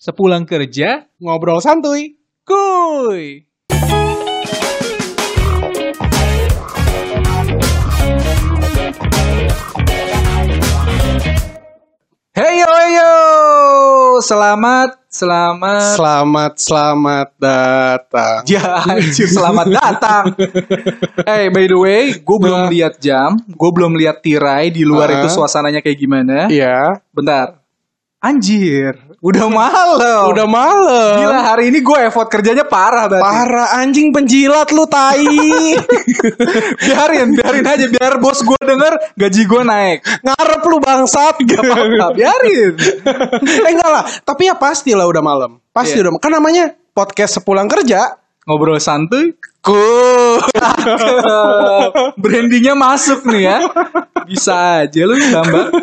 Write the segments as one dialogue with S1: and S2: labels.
S1: Sepulang kerja,
S2: Ngobrol santuy, kuy.
S1: heyo heyo, selamat, selamat,
S2: Selamat, selamat datang.
S1: ya anjir, selamat datang. hey, by the way, gue belum
S2: Nah.
S1: lihat jam, gue belum lihat tirai di luar
S2: Ah.
S1: itu suasananya kayak gimana.
S2: Iya.
S1: Bentar, anjir, udah malam.
S2: Udah malam.
S1: Gila hari ini gue effort kerjanya parah berarti.
S2: Parah anjing penjilat lu tai.
S1: biarin, biarin aja biar bos gue denger gaji gue naik.
S2: Ngarep lu bangsat.
S1: Gak apa-apa, biarin.
S2: eh enggak lah, tapi ya pasti lah udah malam. Pasti
S1: Iya.
S2: udah. Kan namanya podcast sepulang kerja.
S1: Ngobrol santuy,
S2: Ku.
S1: brandingnya masuk nih ya. Bisa aja lu gambar.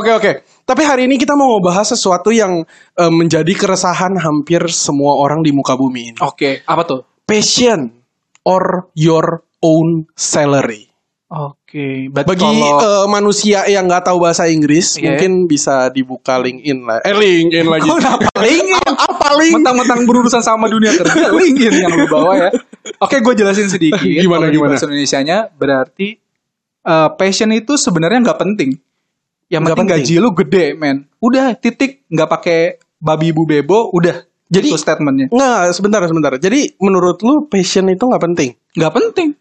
S2: Oke oke. Tapi hari ini kita mau ngebahas sesuatu yang eh, menjadi keresahan hampir semua orang di muka bumi ini.
S1: Oke, apa tuh?
S2: Passion or your own salary.
S1: Oke, berarti
S2: Bagi
S1: kalau-
S2: eh, manusia yang nggak tahu bahasa Inggris,
S1: Iya.
S2: mungkin bisa dibuka LinkedIn lah. Eh LinkedIn lagi.
S1: Kok kenapa LinkedIn?
S2: Apa link?
S1: Mentang-mentang berurusan sama dunia kerja, LinkedIn yang lu bawa ya. Oke, gue jelasin sedikit.
S2: Gimana,
S1: Kalau di
S2: gimana?
S1: Bahasa Indonesianya berarti eh, passion itu sebenarnya nggak penting. Yang
S2: Nggak
S1: penting,
S2: penting.
S1: gaji lu gede, men. Udah, titik. Nggak pakai babi bu bebo, udah.
S2: Jadi-
S1: itu statementnya.
S2: Nggak, sebentar sebentar. Jadi menurut lu passion itu nggak penting?
S1: nggak penting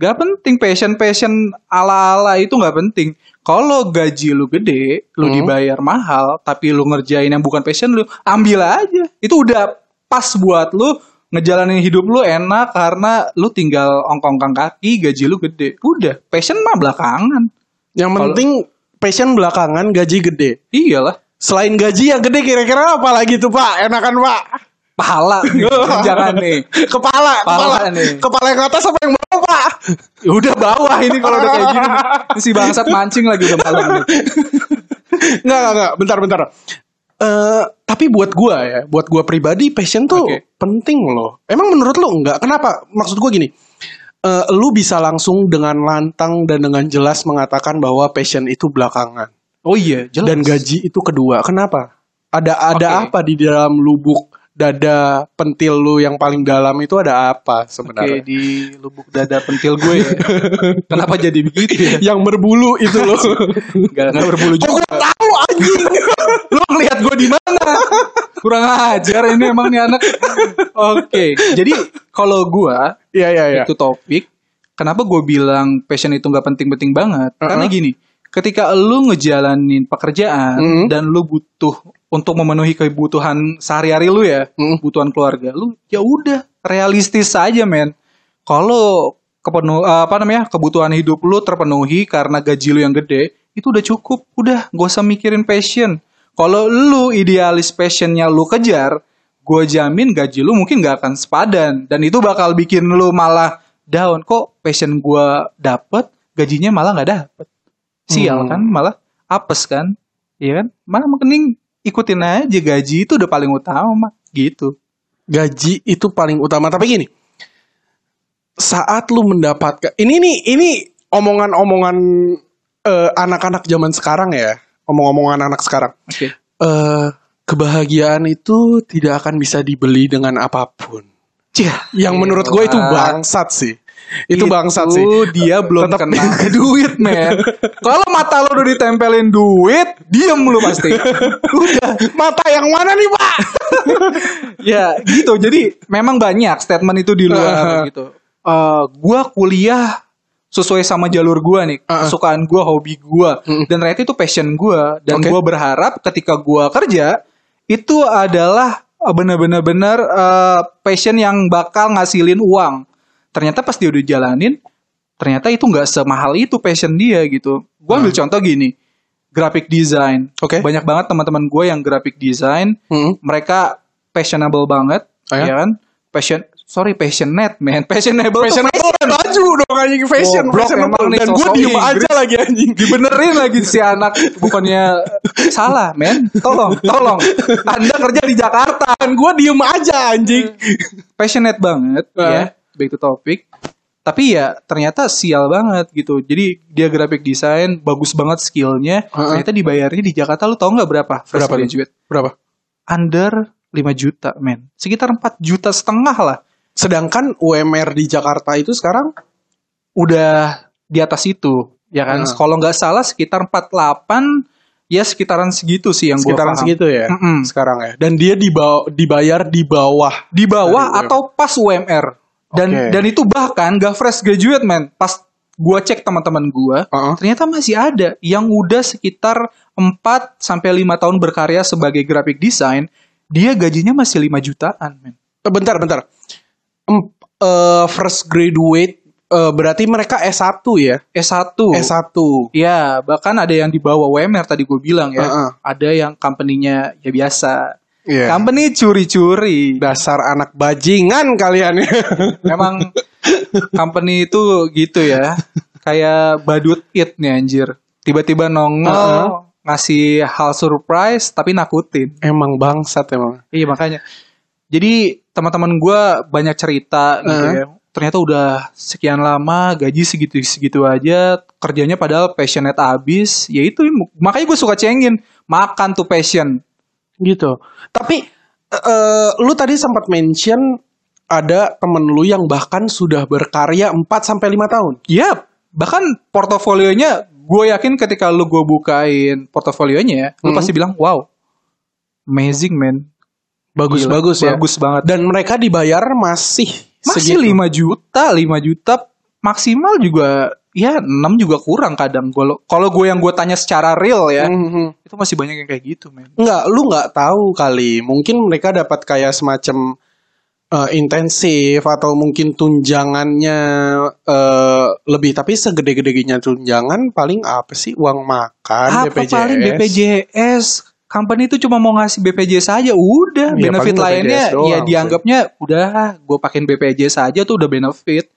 S1: nggak penting passion passion ala ala itu nggak penting kalau gaji lu gede lu
S2: Hmm.
S1: dibayar mahal tapi lu ngerjain yang bukan passion lu ambil aja itu udah pas buat lu ngejalanin hidup lu enak karena lu tinggal ongkong-ongkong kaki gaji lu gede udah passion mah belakangan
S2: Yang
S1: Kalau-
S2: penting passion belakangan gaji gede.
S1: iyalah
S2: Selain gaji yang gede kira-kira apa lagi tuh Pak? Enakan Pak?
S1: pahala nih jangan nih Kepala
S2: Kepala, kepala,
S1: nih.
S2: kepala yang atas apa yang bawah Pak?
S1: Ya udah bawah ini kalau udah kayak gini Ini si bangsat mancing lagi udah malam nih.
S2: Nggak, nggak, nggak. Bentar, bentar. Eh, tapi buat gua ya, buat gua pribadi passion tuh
S1: Oke.
S2: penting loh. Emang menurut lu enggak? Kenapa? Maksud gua gini. eh, lu bisa langsung dengan lantang dan dengan jelas mengatakan bahwa passion itu belakangan
S1: oh iya jelas
S2: dan gaji itu kedua. Kenapa? Ada ada
S1: Oke.
S2: apa di dalam lubuk dada pentil lu yang paling dalam itu ada apa
S1: Oke
S2: sebenarnya?
S1: di lubuk dada pentil gue ya. Kenapa jadi begitu ya?
S2: Yang berbulu itu loh.
S1: Gak, gak berbulu
S2: Kok
S1: juga.
S2: gua tahu anjing?
S1: Lo ngeliat gue di mana? Kurang ajar ini emang nih anak. Oke, jadi kalau gue
S2: Iya iya iya.
S1: itu topik. Kenapa gue bilang passion itu nggak penting-penting banget? Karena
S2: Uh-uh.
S1: gini, ketika lu ngejalanin pekerjaan
S2: Mm.
S1: dan lu butuh untuk memenuhi kebutuhan sehari-hari lu ya,
S2: Mm.
S1: kebutuhan keluarga lu, ya udah realistis aja men. Kalau kepenu eh, apa namanya kebutuhan hidup lu terpenuhi karena gaji lu yang gede, itu udah cukup, udah gak usah mikirin passion. Kalau lu idealis passionnya lu kejar, gue jamin gaji lu mungkin gak akan sepadan dan itu bakal bikin lu malah down. Kok passion gue dapet, gajinya malah nggak dapet. Sial
S2: Hmm.
S1: kan, malah apes kan, iya kan? Mana mending ikutin aja gaji itu udah paling utama gitu.
S2: gaji itu paling utama. Tapi gini, saat lu mendapatkan ini nih ini omongan-omongan eh, anak-anak zaman sekarang ya, omong-omongan anak sekarang.
S1: Oke.
S2: Eh kebahagiaan itu tidak akan bisa dibeli dengan apapun. Yang
S1: Iya,
S2: menurut gue itu bangsat sih. Itu, bangsat sih. Eh,
S1: dia belum
S2: Tetap-
S1: kenal duit, men. Kalau mata lo udah ditempelin duit, diem lu pasti. Udah.
S2: Mata yang mana nih pak?
S1: ya gitu jadi memang banyak statement itu di luar
S2: Uh-huh.
S1: gitu Eh, gua kuliah sesuai sama jalur gua nih
S2: Uh-uh.
S1: kesukaan gua hobi gua
S2: Mm-mm.
S1: dan ternyata itu passion gua dan
S2: Oke.
S1: gua berharap ketika gua kerja itu adalah eh, benar-benar benar eh, passion yang bakal ngasilin uang ternyata pas dia udah jalanin ternyata itu nggak semahal itu passion dia gitu gua ambil contoh gini graphic design
S2: Ah. Oke.
S1: banyak banget teman-teman gue yang graphic design
S2: Mm-mm.
S1: mereka passionable banget,
S2: Oh ya?
S1: ya kan? Passion, sorry passionate man, passionable, tuh
S2: Fashionable baju dong anjing fashion,
S1: Goblok,
S2: fashionable.
S1: emang nih
S2: dan gue
S1: sosok
S2: diem
S1: Inggris.
S2: aja lagi anjing.
S1: dibenerin lagi si anak bukannya salah men, tolong, tolong, anda kerja di Jakarta,
S2: Dan gue diem aja anjing.
S1: Eh. passionate banget, ya, back to topic. Tapi ya ternyata sial banget gitu. Jadi dia graphic design bagus banget skillnya.
S2: Heeh.
S1: Ternyata dibayarnya di Jakarta lu tau nggak berapa?
S2: Berapa tuh?
S1: graduate.
S2: Berapa?
S1: under 5 juta, men. Sekitar 4 juta setengah lah.
S2: Sedangkan UMR di Jakarta itu sekarang
S1: Udah di atas itu, ya kan?
S2: Hmm.
S1: Kalau nggak salah sekitar 48, ya sekitaran segitu sih yang
S2: sekitaran
S1: gua paham.
S2: segitu ya
S1: Mm-mm.
S2: sekarang ya. Dan dia dibaw- dibayar di bawah
S1: Di bawah
S2: Dari UMR.
S1: atau pas UMR. Dan
S2: ya. Oke.
S1: dan itu bahkan gak fresh graduate, men. Pas gua cek teman-teman gua,
S2: Heeh.
S1: ternyata masih ada yang udah sekitar 4 sampai 5 tahun berkarya sebagai graphic design, dia gajinya masih 5 jutaan, men.
S2: Eh, Bentar, bentar. Em- eh, first graduate eh, berarti mereka S1 ya?
S1: S1.
S2: S1.
S1: Ya, bahkan ada yang di bawah WMR tadi gue bilang ya.
S2: Heeh.
S1: Ada yang company-nya ya biasa.
S2: Iya.
S1: Company curi-curi.
S2: Dasar anak bajingan kalian ya.
S1: Memang company itu gitu ya. Kayak badut it nih anjir. Tiba-tiba nongol
S2: Heeh.
S1: ngasih hal surprise tapi nakutin.
S2: emang bangsat emang.
S1: Iya makanya. Jadi teman-teman gue banyak cerita gitu
S2: Heeh.
S1: ya. Ternyata udah sekian lama gaji segitu-segitu aja, kerjanya padahal passionate abis. Ya itu makanya gue suka cengin makan tuh passion.
S2: Gitu. Tapi eh, eh, lu tadi sempat mention ada temen lu yang bahkan sudah berkarya 4 sampai 5 tahun.
S1: Ya bahkan portofolionya gue yakin ketika lu gue bukain portofolionya, lu
S2: Mhm.
S1: pasti bilang wow, amazing man. Gila,
S2: Bagus-bagus ya.
S1: Bagus banget.
S2: Dan mereka dibayar masih
S1: Masih
S2: segitu.
S1: 5 juta, 5 juta maksimal juga ya 6 juga kurang kadang. Gua- Kalau gue yang gue tanya secara real ya,
S2: Mhm.
S1: itu masih banyak yang kayak gitu, men.
S2: Enggak, lu nggak tahu kali. Mungkin mereka dapat kayak semacam eh, intensif atau mungkin tunjangannya eh, lebih. Tapi segede-gedenya tunjangan paling apa sih? Uang makan,
S1: Apa paling BPJS company itu cuma mau ngasih BPJS aja udah
S2: Iya,
S1: benefit
S2: paling BPJS
S1: lainnya ya
S2: doang,
S1: dianggapnya udah gue pakein BPJS aja tuh udah benefit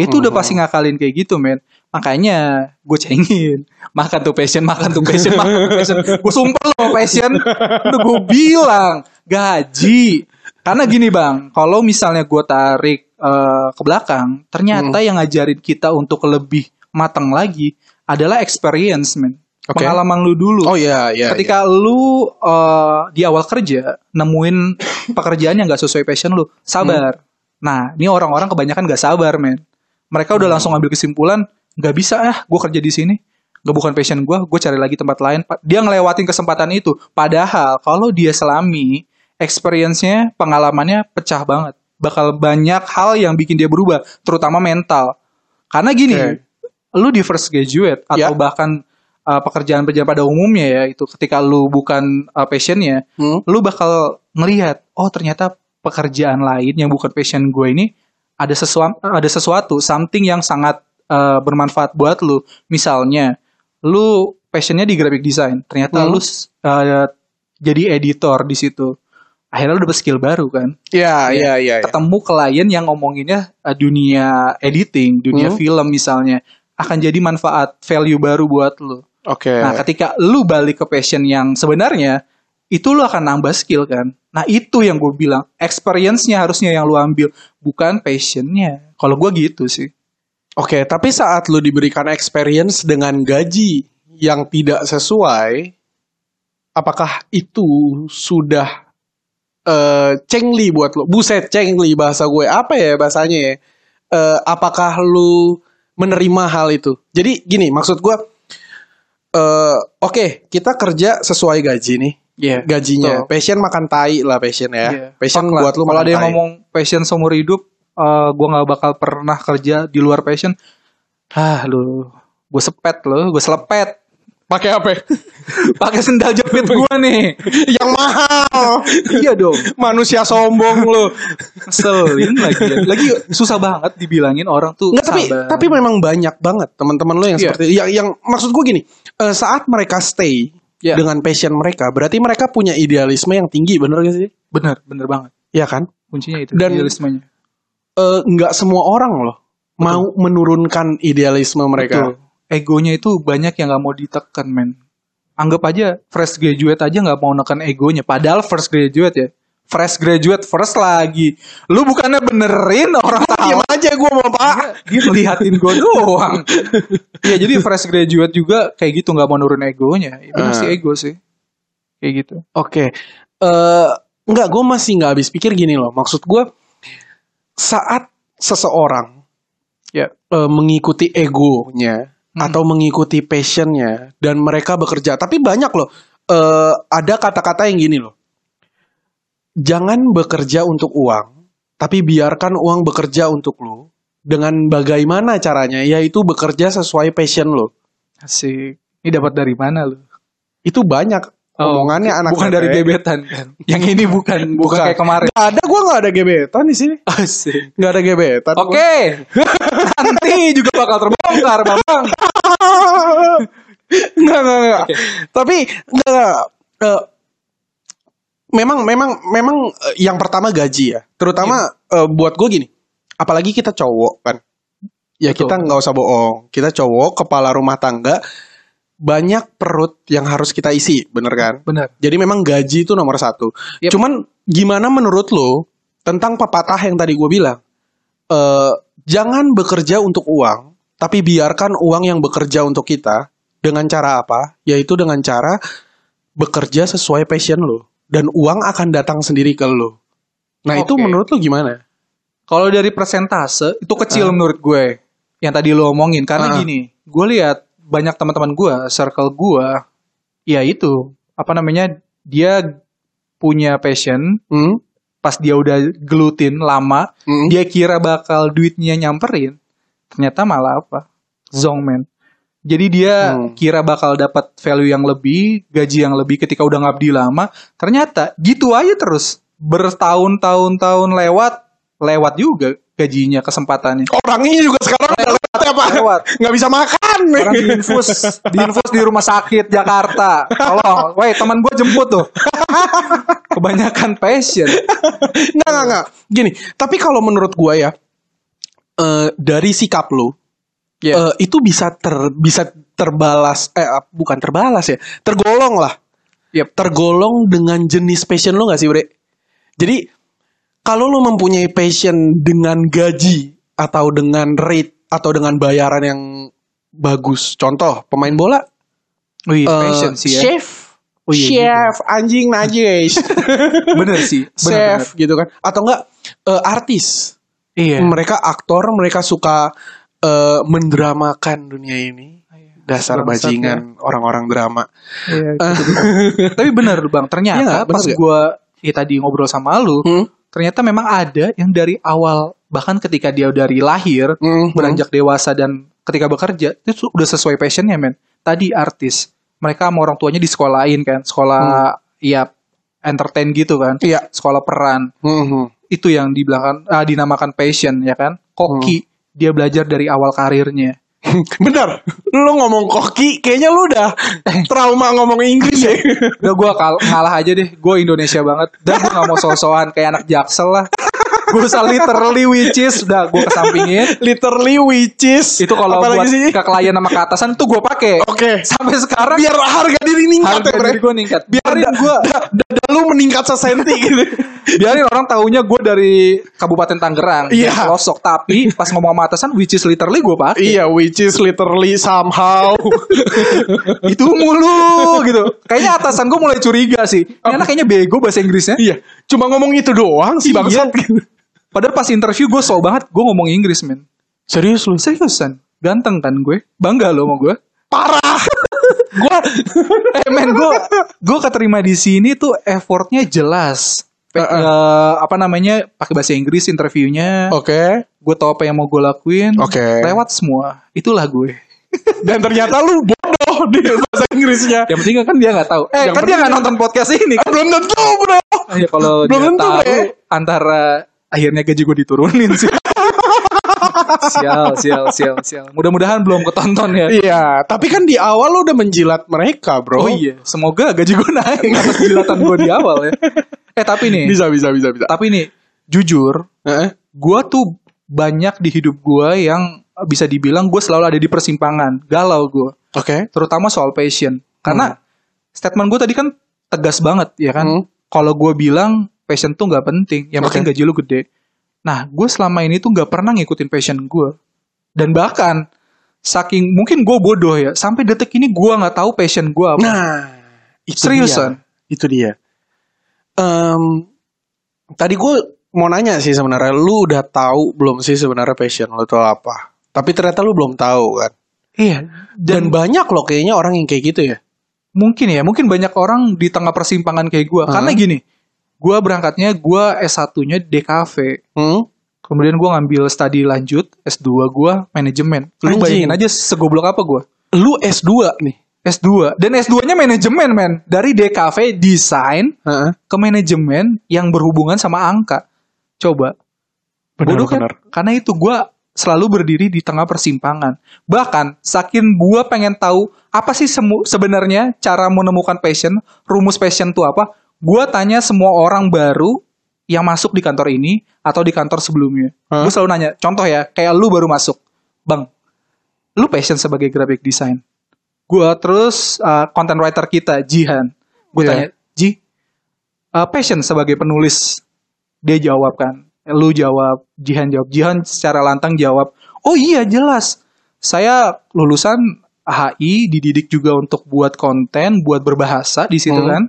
S1: itu udah pasti ngakalin kayak gitu men makanya gue cengin makan tuh passion makan tuh passion makan tuh passion gue sumpah lo sama passion udah gue bilang gaji karena gini bang kalau misalnya gue tarik eh, ke belakang ternyata yang ngajarin kita untuk lebih matang lagi adalah experience men
S2: Oke.
S1: pengalaman lu dulu
S2: Oh iya, iya.
S1: ketika lu eh, di awal kerja nemuin pekerjaan yang gak sesuai passion lu, sabar.
S2: Hmm.
S1: Nah, ini orang-orang kebanyakan gak sabar, men. Mereka
S2: Hmm.
S1: udah langsung ambil kesimpulan, gak bisa ah, gue kerja di sini, gak bukan passion gue, gue cari lagi tempat lain. Pa- Dia ngelewatin kesempatan itu. Padahal kalau dia selami, experience-nya, pengalamannya pecah banget. Bakal banyak hal yang bikin dia berubah, terutama mental. Karena gini,
S2: Oke.
S1: lu di first graduate atau
S2: Ya.
S1: bahkan uh, pekerjaan-pekerjaan pada umumnya ya itu ketika lu bukan uh, passionnya
S2: iya. Hmm?
S1: lu bakal ngelihat oh ternyata pekerjaan lain yang bukan passion gue ini ada sesuatu ada sesuatu something yang sangat uh, bermanfaat buat lu misalnya lu passionnya di graphic design ternyata
S2: Hmm.
S1: lu uh, jadi editor di situ akhirnya lu dapet skill baru kan
S2: Iya, iya, iya. iya.
S1: ketemu klien yang ngomonginnya eh, dunia editing, dunia
S2: Hmm.
S1: film misalnya akan jadi manfaat value baru buat lu.
S2: Oke.
S1: Nah, ketika lu balik ke passion yang sebenarnya, itu lu akan nambah skill kan. Nah, itu yang gue bilang, experience-nya harusnya yang lu ambil, bukan passion-nya. Kalau gue gitu sih.
S2: Oke, tapi saat lu diberikan experience dengan gaji yang tidak sesuai, apakah itu sudah eh, cengli buat lu? Buset, cengli bahasa gue. Apa ya bahasanya ya? Eh, apakah lu menerima hal itu? Jadi gini, maksud gue, eh, oke, kita kerja sesuai gaji nih.
S1: Iya.
S2: Gajinya,
S1: betul.
S2: passion makan tai lah passion
S1: Iya.
S2: ya. Passion
S1: Fuck lah.
S2: buat lu
S1: Kalau
S2: makan
S1: ada yang
S2: tai.
S1: ngomong passion seumur hidup, eh, gue nggak bakal pernah kerja di luar passion. Ah, lu, gue sepet lo, gue selepet.
S2: pakai apa?
S1: pakai sendal jepit gua nih
S2: yang mahal.
S1: iya dong
S2: Manusia sombong lu.
S1: selin lagi lagi susah banget dibilangin orang tuh
S2: Nggak, tapi
S1: sabar.
S2: tapi memang banyak banget teman-teman lo yang
S1: Iya.
S2: seperti yang yang maksud gue gini, eh, saat mereka stay
S1: Iya.
S2: dengan passion mereka, berarti mereka punya idealisme yang tinggi, bener gak sih?
S1: bener bener banget
S2: Iya kan?
S1: kuncinya itu
S2: Dan-
S1: idealismenya
S2: Eh, Nggak semua orang loh mau menurunkan idealisme mereka.
S1: Betul. egonya itu banyak yang nggak mau ditekan men anggap aja fresh graduate aja nggak mau nekan egonya padahal first graduate ya fresh graduate first lagi lu bukannya benerin orang tahu
S2: Diam aja gue mau pak.
S1: dia melihatin gue doang ya jadi fresh graduate juga kayak gitu nggak mau nurun egonya ya, bener
S2: Eh.
S1: sih ego sih kayak gitu
S2: Oke, Eh eh nggak gue masih nggak habis pikir gini loh maksud gue saat seseorang
S1: Ya.
S2: eh, mengikuti egonya
S1: Hmm.
S2: atau mengikuti passionnya dan mereka bekerja tapi banyak loh eh, ada kata-kata yang gini loh jangan bekerja untuk uang tapi biarkan uang bekerja untuk lo dengan bagaimana caranya yaitu bekerja sesuai passion lo
S1: Asik. Ini dapat dari mana lu?
S2: itu banyak omongannya
S1: Oh,
S2: anak
S1: bukan dari gebetan kan. Yang ini bukan, bukan,
S2: Bukan.
S1: kayak kemarin.
S2: Gak ada gue gak ada gebetan di sini
S1: Asik.
S2: nggak ada gebetan
S1: Oke. Nanti juga bakal terbongkar, Bang.
S2: nggak nggak nggak tapi nggak nggak. Eh, memang memang memang eh, yang pertama gaji ya terutama
S1: Iya.
S2: eh, buat gue gini apalagi kita cowok kan ya
S1: Betul.
S2: kita nggak usah bohong kita cowok kepala rumah tangga banyak perut yang harus kita isi bener kan
S1: Benar.
S2: jadi memang gaji itu nomor satu.
S1: Yep.
S2: Cuman gimana menurut lo tentang pepatah yang tadi gue bilang? Eh, jangan bekerja untuk uang, tapi biarkan uang yang bekerja untuk kita dengan cara apa? Yaitu dengan cara bekerja sesuai passion lo dan uang akan datang sendiri ke lo. Nah itu
S1: Oke.
S2: menurut lo gimana?
S1: Kalau dari persentase itu kecil menurut gue. Yang tadi lo omongin karena
S2: Ah.
S1: gini, gue lihat banyak teman-teman gue, circle gue, ya itu apa namanya dia punya passion
S2: Hmm?
S1: pas dia udah gelutin lama,
S2: Hmm?
S1: dia kira bakal duitnya nyamperin, ternyata malah apa? Zong man. Jadi dia
S2: Hmm.
S1: kira bakal dapat value yang lebih, gaji yang lebih ketika udah ngabdi lama, ternyata gitu aja terus bertahun-tahun-tahun lewat, lewat juga gajinya kesempatannya.
S2: Orangnya juga sekarang udah lewat ya pak,
S1: Lewat.
S2: nggak bisa makan.
S1: Orang diinfus, diinfus di rumah sakit Jakarta. Tolong, woi teman gue jemput tuh. Kebanyakan passion.
S2: Nggak, nggak, nggak. Gini, tapi kalau menurut gua ya, eh, dari sikap lu,
S1: Ya.
S2: eh, itu bisa ter bisa terbalas, eh ap- bukan terbalas ya, tergolong lah.
S1: Yep.
S2: Tergolong dengan jenis passion lu gak sih, Bre? Jadi, kalau lu mempunyai passion dengan gaji, atau dengan rate, atau dengan bayaran yang bagus. Contoh, pemain bola,
S1: Wih,
S2: eh,
S1: passion sih ya.
S2: chef,
S1: Oh iya
S2: chef, anjing, najis,
S1: Bener sih. bener,
S2: chef, gitu kan. Atau enggak, eh, artis
S1: bener. Iya.
S2: mereka aktor mereka suka eh, mendramakan dunia ini
S1: Oh,
S2: dasar
S1: iya. Bangsat ya.
S2: bajingan orang-orang drama
S1: Iya, gitu. Tapi bener bang,
S2: Iya
S1: ternyata
S2: nggak?
S1: pas
S2: Bener nggak?
S1: gue ya, tadi ngobrol sama lu,
S2: Hmm?
S1: ternyata memang ada yang dari awal bahkan ketika dia dari lahir
S2: Hmm,
S1: beranjak dewasa dan ketika bekerja itu su- udah sesuai passionnya men. Tadi artis, mereka sama orang tuanya disekolahin kan, sekolah ya entertain gitu kan,
S2: Hmm. iya
S1: sekolah peran
S2: Hmm, hmm.
S1: itu yang dibilangkan ah, dinamakan passion ya kan. Koki
S2: Hmm.
S1: dia belajar dari awal karirnya.
S2: benar lu ngomong koki kayaknya lu udah
S1: Eh.
S2: trauma ngomong Inggris ya
S1: Udah gue kal ngalah aja deh. Gue Indonesia banget. Dan gue gak mau sosokan kayak anak jaksel lah. Gue usah literally which is. Udah gue kesampingin.
S2: literally witches
S1: Itu kalau buat
S2: apalagi sih
S1: ke klien sama ke atasan tuh gue pake.
S2: oke
S1: Sampai sekarang
S2: biar harga diri meningkat
S1: harga
S2: ya Bre.
S1: diri gue ningkat.
S2: biar
S1: Biarin
S2: da-
S1: gue.
S2: da- dada lu meningkat sesenti gitu
S1: Biarin orang taunya gue dari Kabupaten Tangerang. dari
S2: Iya.
S1: Pelosok. Tapi pas ngomong sama atasan which is literally gue pake.
S2: iya witches literally somehow
S1: Itu
S2: Iya,
S1: mulu gitu. Kayaknya atasan gue mulai curiga sih. Ini anak kayaknya bego bahasa Inggrisnya.
S2: iya cuma ngomong itu doang sih
S1: Iya.
S2: bangsat
S1: Padahal pas interview gue so banget. Gue ngomong Inggris men.
S2: serius lu
S1: Seriusan, ganteng kan gue? Bangga lo sama gue?
S2: parah
S1: Gue, eh men gue, gue keterima di sini tuh effortnya jelas. Pe-
S2: Heeh.
S1: eh, apa namanya pakai bahasa Inggris interviewnya
S2: Oke.
S1: gue tau apa yang mau gue lakuin
S2: Oke.
S1: lewat semua itulah gue
S2: Dan ternyata lu bodoh di bahasa Inggrisnya.
S1: yang penting kan dia nggak tahu eh kan
S2: Yang
S1: dia
S2: penting-
S1: nggak nonton podcast ini kan
S2: Belum tentu, bro.
S1: ya, kalau dia
S2: Belum tentu,
S1: tahu
S2: Bre.
S1: antara akhirnya gaji gue diturunin sih sial sial sial sial mudah-mudahan belum ketonton ya
S2: Iya, tapi kan di awal lu udah menjilat mereka,
S1: Oh
S2: bro.
S1: iya, semoga gaji gue naik atas penjelasan gue di awal ya. Eh tapi nih,
S2: Bisa, bisa, bisa, bisa.
S1: tapi nih, jujur,
S2: Heeh.
S1: gue tuh banyak di hidup gue yang bisa dibilang gue selalu ada di persimpangan, galau gue,
S2: Oke.
S1: terutama soal passion. Karena statement gue tadi kan tegas banget ya kan.
S2: Hmm.
S1: Kalau gue bilang passion tuh nggak penting, yang
S2: Oke.
S1: penting gaji lu gede. Nah, gue selama ini tuh nggak pernah ngikutin passion gue, dan bahkan saking mungkin gue bodoh ya, sampai detik ini gue nggak tahu passion gue apa.
S2: Nah, itu
S1: Seriusan?
S2: dia. Itu dia. Em, tadi gue mau nanya sih sebenarnya, lu udah tahu belum sih sebenarnya passion lu tuh apa? Tapi ternyata lu belum tahu kan.
S1: Iya. Dan,
S2: Dan, banyak loh kayaknya orang yang kayak gitu ya.
S1: mungkin ya, mungkin banyak orang di tengah persimpangan kayak gua. Karena
S2: Hmm.
S1: gini, gua berangkatnya gua S1-nya DKV.
S2: Hmm?
S1: Kemudian gua ngambil studi lanjut, S2 gua manajemen. Lu
S2: Anjing.
S1: bayangin aja segoblok apa gua.
S2: Lu S2 nih.
S1: S2 dan S2-nya manajemen, men. Dari DKV desain
S2: Heeh.
S1: ke manajemen yang berhubungan sama angka. Coba. Bodoh kan? Karena itu gua selalu berdiri di tengah persimpangan. Bahkan saking gua pengen tahu apa sih semu- sebenarnya cara menemukan passion, rumus passion itu apa? Gua tanya semua orang baru yang masuk di kantor ini atau di kantor sebelumnya.
S2: Hah?
S1: Gue selalu nanya, contoh ya, kayak lu baru masuk. Bang, lu passion sebagai graphic design. Gua terus uh, content writer kita, Jihan. Gue
S2: Iya.
S1: tanya, Ji, uh, passion sebagai penulis dia jawab kan lu jawab Jihan jawab Jihan secara lantang jawab oh iya jelas saya lulusan HI dididik juga untuk buat konten buat berbahasa di situ
S2: Hmm.
S1: kan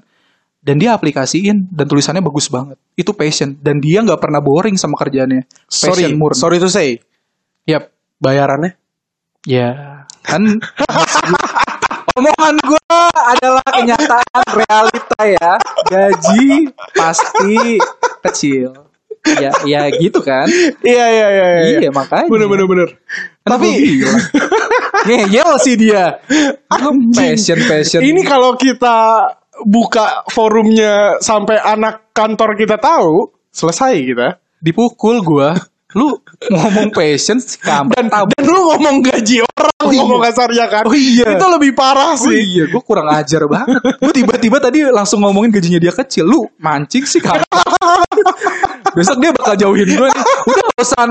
S1: dan dia aplikasiin dan tulisannya bagus banget itu passion dan dia nggak pernah boring sama kerjaannya
S2: Sorry,
S1: passion murni
S2: sorry to say.
S1: Yap.
S2: Bayarannya?
S1: ya kan omongan gue adalah kenyataan realita ya gaji pasti kecil ya ya gitu kan
S2: Iya, iya, iya.
S1: Iya, makanya.
S2: Bener, bener, bener.
S1: Tapi
S2: Tapi
S1: ngeyel sih dia. Lu
S2: Anjing.
S1: passion passion.
S2: ini kan- kalau kita buka forumnya sampai anak kantor kita tahu, selesai kita.
S1: dipukul gua. Lu ngomong passion kampret
S2: Dan, dan lu ngomong gaji orang,
S1: Oh iya.
S2: ngomong kasarnya kan.
S1: Oh iya.
S2: Itu lebih parah
S1: Oh
S2: sih.
S1: iya, gua kurang ajar banget. Gua tiba-tiba tadi langsung ngomongin gajinya dia kecil. Lu mancing sih kampret. Besok dia bakal jauhin gue. nih. Udah gak usah